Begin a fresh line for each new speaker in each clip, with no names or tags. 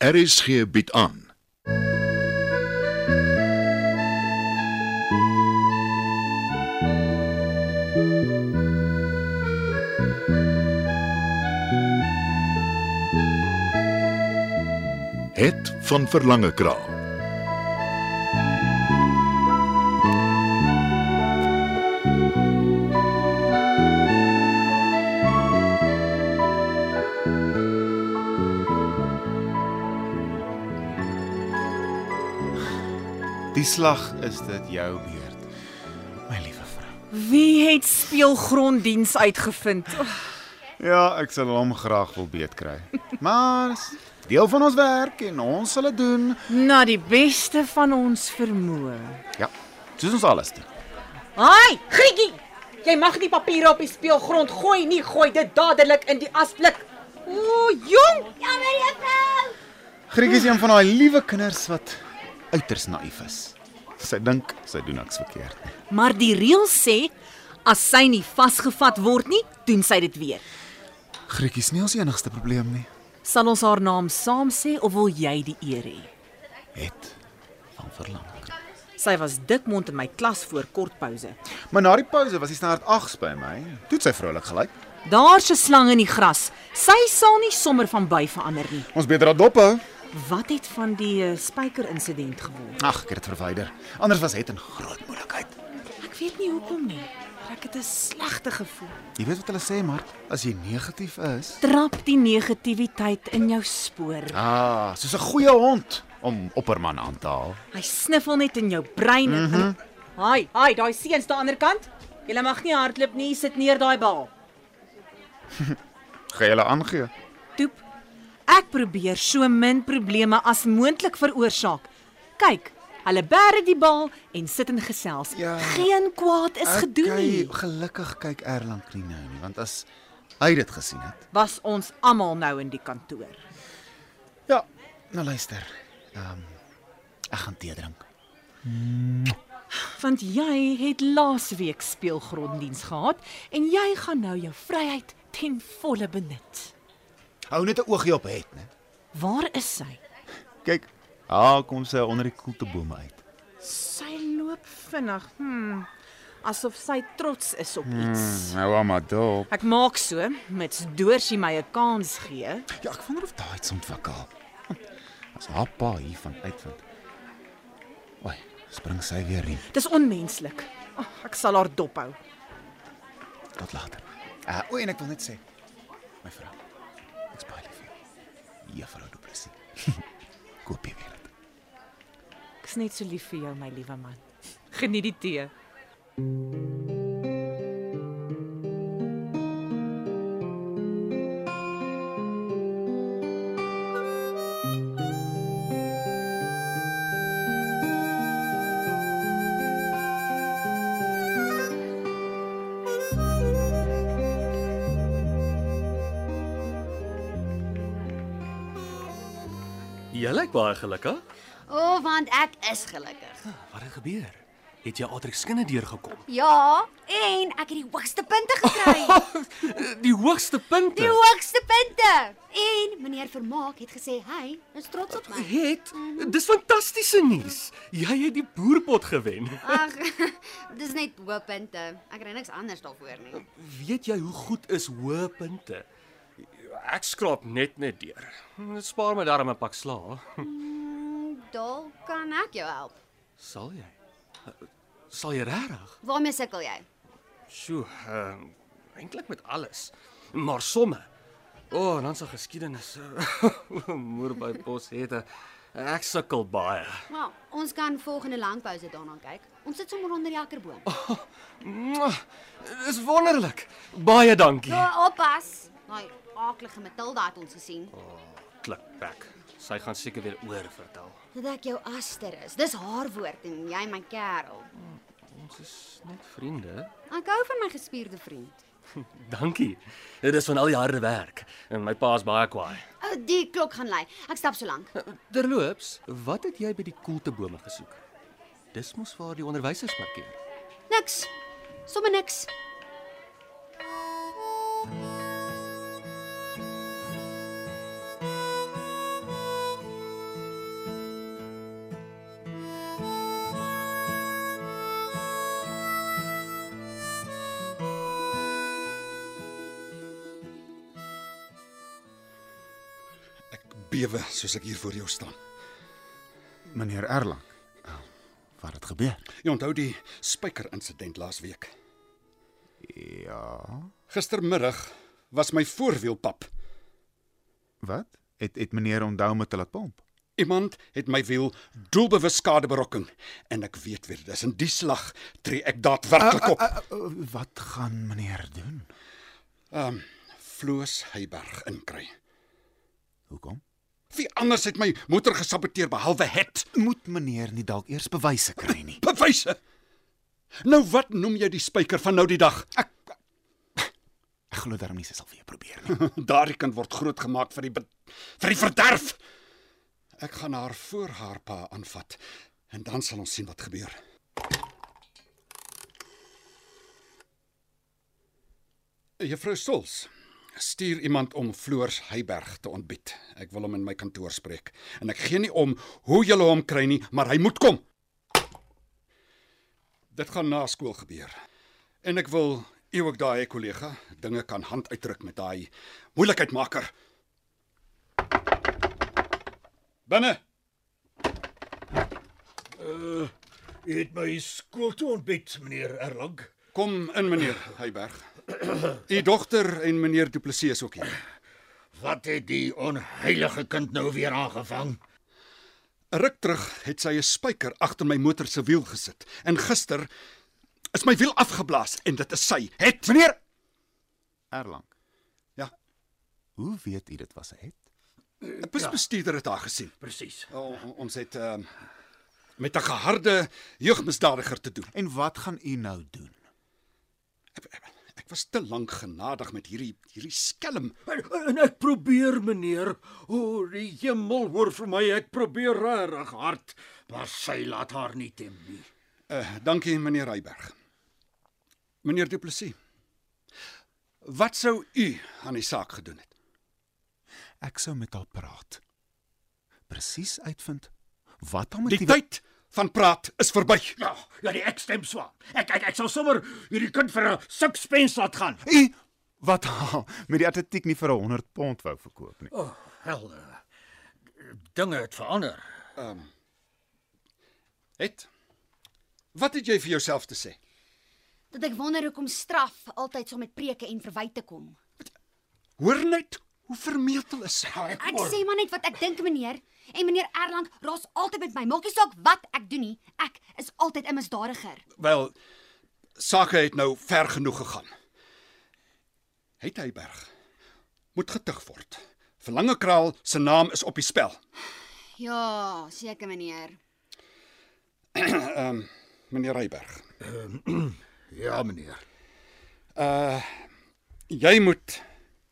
RSG bied aan. Het van Verlange Kraal
Die slag is dit jou beurt. My liewe vrou.
Wie het speelgronddiens uitgevind?
Ja, ek sal hom graag wil weet kry. Maar is deel van ons werk en ons sal dit doen.
Na die beste van ons vermoë.
Ja. Soos ons alles doen.
Haai, Griekie! Jy mag nie papiere op die speelgrond gooi nie. Gooi dit dadelik in die asblik. Ja,
O, jong,
Jammer juffrou.
Griek is een van daai liewe kinders wat uiters naïef is. Sy dink sy doen niks verkeerd nie.
maar die reël sê as sy nie vasgevat word nie, doen sy dit weer.
Griek is nie ons enigste probleem nie.
Sal ons haar naam saam sê of wil jy die eer hê?
Het van verlang.
Sy was dikmond in my klas voor kort pouse.
Maar na die pouse was die standaard 8s by my. Toe het sy vrolik gelyk.
Daar's 'n slang in die gras. Sy sal nie sommer van by verander nie.
Ons beter dit dophou.
Wat het van die eh, spykerinsident geword?
Ag, ek het dit verwyder. Anders was het in groot moeilikheid.
Ek weet nie hoekom nie. maar Ek het 'n slegte gevoel.
Jy weet wat hulle sê, maar as jy negatief is,
Trap die negativiteit in jou spoor.
Ah, soos 'n goeie hond om opperman aan te haal.
Hy sniffel net in jou brein en mm -hmm.
Haai, haai, daai seuns daan die ander kant. Jy mag nie hardloop nie. Sit neer daai bal.
Gaan jy hulle aangee?
toep. Ek probeer so min probleme as moontlik veroorsaak. Kyk, hulle bære die bal en sit in gesels.
Ja.
Geen kwaad is gedoen nie.
Gelukkig kyk Erlang nie nou nie, want as hy dit gesien het.
Was ons almal nou in die kantoor.
Ja, nou luister. Ehm um, ek gaan tee drink.
Want jy het laasweek speelgronddiens gehad en jy gaan nou jou vryheid ten volle benut.
Hou net 'n oogie op het, né?
Waar is sy?
Kyk, ah, kom sy onder die koeltebome uit.
Sy loop vinnig. Hm. Asof sy trots is op iets.
Nou amado.
Ek maak so mits Dorsie my 'n kans gee.
Ja, ek wonder of daai iets ontwikkel. Hm, As haar pa hiervan uitvind. Oei, spring sy weer in.
Dis onmenslik. Oh, ek sal haar dophou.
Tot later. Uh, o, en ek wil net sê, my vrou, ek's baie lief vir jou. Juffrou Du Plessis. Koop jy weer dit?
Ek's net so lief vir jou, my liewe man. Geniet die tee.
Jy lyk baie gelukkig.
O, oh, want ek is gelukkig.
Wat het gebeur? Het jy Atrix kinders deurgekom?
Ja, en ek het die hoogste punte gekry.
Die hoogste punte.
Die hoogste punte. En meneer Vermaak het gesê hy is trots op my.
het. Dis fantastiese nuus. Jy het die boerpot gewen.
Ag, dis net hoë punte. Ek kry niks anders daarvoor nie.
Weet jy hoe goed is hoë punte? Ek skraap net net deur. Dit spaar my darm 'n pak slaag.
Dalk kan ek jou help.
Sal jy? Sal jy regtig?
Waarmee sukkel jy?
Sjoe, ehm um, eintlik met alles. Maar somme. O, oh, dan se geskiedenis. Moer by pos het. eh, Ek sukkel baie.
Nou, ons kan volgende langpouse daarna kyk. Ons sit sommer onder die akkerboom. Oh.
Mwah, Dis wonderlik. Baie dankie.
Ja, Oppas. Daai aaklige Matilda het ons gesien.
Klikpak. Sy gaan seker weer oor vertel.
Dat ek jou aster is. Dis haar woord en jy my kerel.
Ons is net vriende.
Ek hou van my gespierde vriend.
Dankie. Dit is van al die harde werk en my pa is baie kwaai.
O, Oh, die klok gaan lui. Ek stap so lank.
Terloops, wat het jy by die koeltebome gesoek? Dis mos waar die onderwysers parkeer.
Niks. Sommige niks.
lewe soos ek hier voor jou staan.
Meneer Erlang. Ah, Wat het gebeur?
Jy onthou die spyker insident laas week.
Ja.
Gistermiddag was my voorwiel pap.
Wat? Het het meneer onthou om te laat pomp?
Iemand het my wiel doelbewus skade berokken en ek weet weer dis in die slag tree ek
Ah,
daadwerklik op.
oh, Wat gaan meneer doen?
Ehm Floos Heyberg inkry.
Hoekom?
Wie anders het my motor gesaboteer behalwe het
Moet meneer nie dalk eers bewyse kry nie?
bewyse. Nou wat noem jy die spyker van nou die dag? Ek
Ek glo daarom nie sy sal weer probeer nie.
daardie kind word grootgemaak vir die be- vir die verderf. Ek gaan haar voor haar pa aanvat en dan sal ons sien wat gebeur. Juffrou Stols stuur iemand om Floors Heyberg te ontbied. Ek wil hom in my kantoor spreek en ek gee nie om hoe julle hom kry nie, maar hy moet kom. Dit gaan na skool gebeur. En ek wil u ook daai kollega dinge kan hand uitdruk met daai moeilikheidmaker. Binne.
Eh, U het my skool toe ontbyt, meneer Erlang.
Kom in meneer Heyberg. U dogter en meneer Du Plessis is ook hier.
Wat het die onheilige kind nou weer aangevang?
'n Ruk terug het sy 'n spyker agter my motor se wiel gesit en gister is my wiel afgeblaas en dit is sy. Het meneer
Erlang.
Ja,
Hoe weet u dit was hy het?
'n busbestuurder het haar gesien.
Presies.
O, ons het ehm met 'n geharde jeugmisdadiger te doen.
En wat gaan u nou doen?
Ek, ek, ek was te lank genadig met hierdie hierdie skelm.
En, en ek probeer, meneer. O, die hemel hoor vir my, ek probeer regtig hard, maar sy laat haar nie tem nie.
Uh, dankie meneer Reiberg. Meneer Du Plessis. Wat sou u aan die saak gedoen het?
Ek sou met haar praat. Presies uitvind wat haar
Die
motiewe
tyd van praat is verby.
Ja, ja, die ek stem swaar. Ek ek ek sal sommer hierdie kind vir 'n sukspens laat gaan.
U wat haar met die atletiek nie vir 'n 100 pond wou verkoop nie.
O, oh, hel. Dinge het verander.
Het Wat het jy vir jouself te sê?
Dat ek wonder hoekom straf altyd so met preke en verwyte kom.
Hoor net hoe vermetel is sy.
Ja,
Ek sê maar net wat ek dink, meneer. En meneer Erlang raas altyd met my. Maak nie saak wat ek doen nie. Ek is altyd 'n misdadiger.
Wel, sake het nou ver genoeg gegaan. Het Heyberg moet getuig word. Verlange Kraal se naam is op die spel.
Ja, seker meneer.
Meneer Reiberg,
Ja, meneer.
Uh, jy moet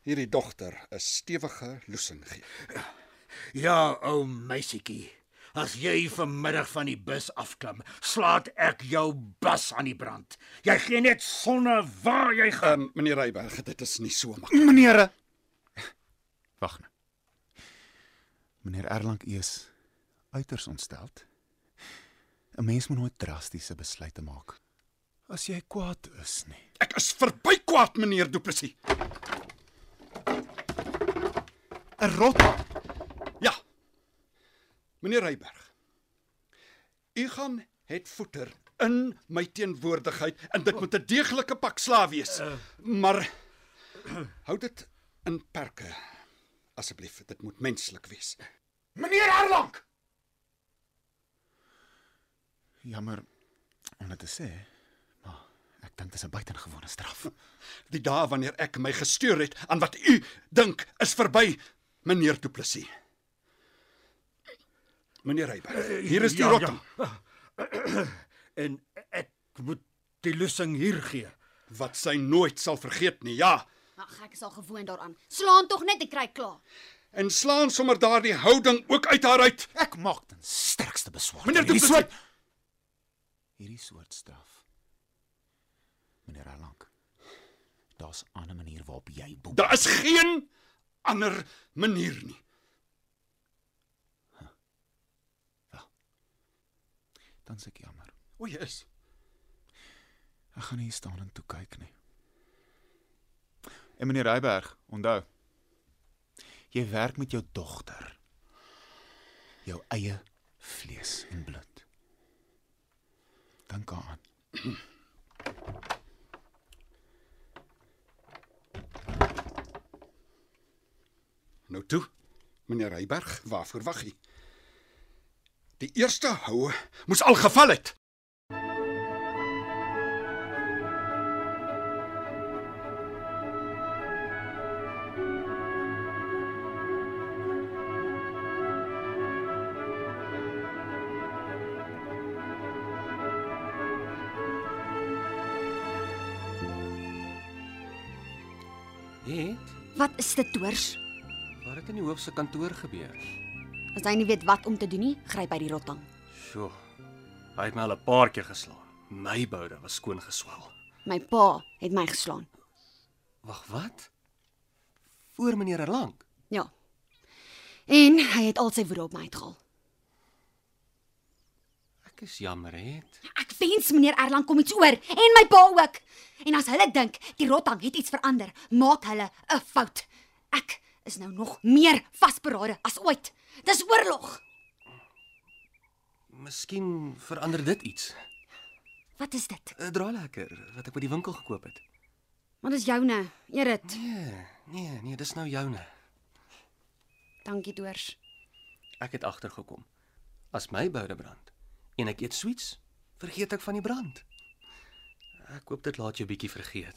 hierdie dogter 'n stewige loosing gee.
Ja, ou meisietjie. As jy vanmiddag van die bus afklim, slaat ek jou bas aan die brand. Jy gee net sonne waar jy gaan.
Ehm um, meneer Reiberg, dit is nie so maklik.
Meneere. Wag nou. Meneer Erlang is uiters ontsteld. 'n Mens moet nooit drastiese besluite maak as jy kwaad is nie.
Ek is verby kwaad, meneer Du Plessis.
'n Rot.
Ja. Meneer Reiberg. U gaan het voeter in my teenwoordigheid en dit moet 'n deeglike pak slaaf wees. Maar hou dit in perke asseblief. Dit moet menslik wees.
Meneer Erlang.
Jammer om dit te sê, maar ek dink dis 'n buitengewone straf.
Die dae wanneer ek my gesteur het aan wat u dink is verby, meneer Du Plessis. Meneer Reiberg,
Eh,
hier is die ja, rotting. Ja.
En ek moet die lussing hier gee.
Wat sy nooit sal vergeet nie. Ja.
Ag, ek is al gewoond daaraan. Slaan tog net en kry klaar.
En slaan sommer daardie houding ook uit haar uit.
Ek maak ten sterkste beswaar.
Meneer
teen
Du
hierdie
Plessis.
soort hierdie soort straf. Meneer Erlang. Daar's 'n ander manier waarop jy boek.
Daar is geen ander manier nie.
Dan sê ek jammer.
O, jy is.
Ek gaan nie staan en toe kyk nie. En meneer Reiberg, onthou. Jy werk met jou dogter. jou eie vlees en bloed. Dink daaraan.
Nou toe, meneer Reiberg, waarvoor wag jy? Die eerste houe moes al geval het.
Het
Wat is dit toors?
wat het in die hoofse kantoor gebeur?
As hy nie weet wat om te doen nie, gryp hy die rotang.
Sjoe. Hy het my al 'n paar keer geslaan. My boude was skoon geswel.
My pa het my geslaan.
Wag, wat? Voor meneer Erlang.
Ja. En hy het al sy woede op my uitgehaal.
Ek is jammer, het.
Ek wens meneer Erlang kom iets oor en my pa ook. En as hulle dink die rotang het iets verander, maak hulle 'n fout. Ek is nou nog meer vasberade as ooit. Dis oorlog.
Miskien verander dit iets.
Wat is dit?
'n Draailekker Eh, wat ek by die winkel gekoop het.
Maar dis joune, Erit.
Nee, nee, nee, dis nou joune.
Dankie doors.
Ek het agtergekom. As my boude brand en ek eet sweets, vergeet ek van die brand. Ek hoop dit laat jou bietjie vergeet.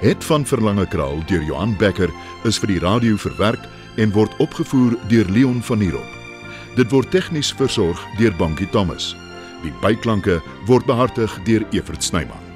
Het van Verlange Kraal deur Johan Becker is vir die radio verwerk en word opgevoer deur Leon Van Heerop. Dit word tegnies versorg deur Bankie Thomas. Die byklanke word behartig deur Evert Snyman.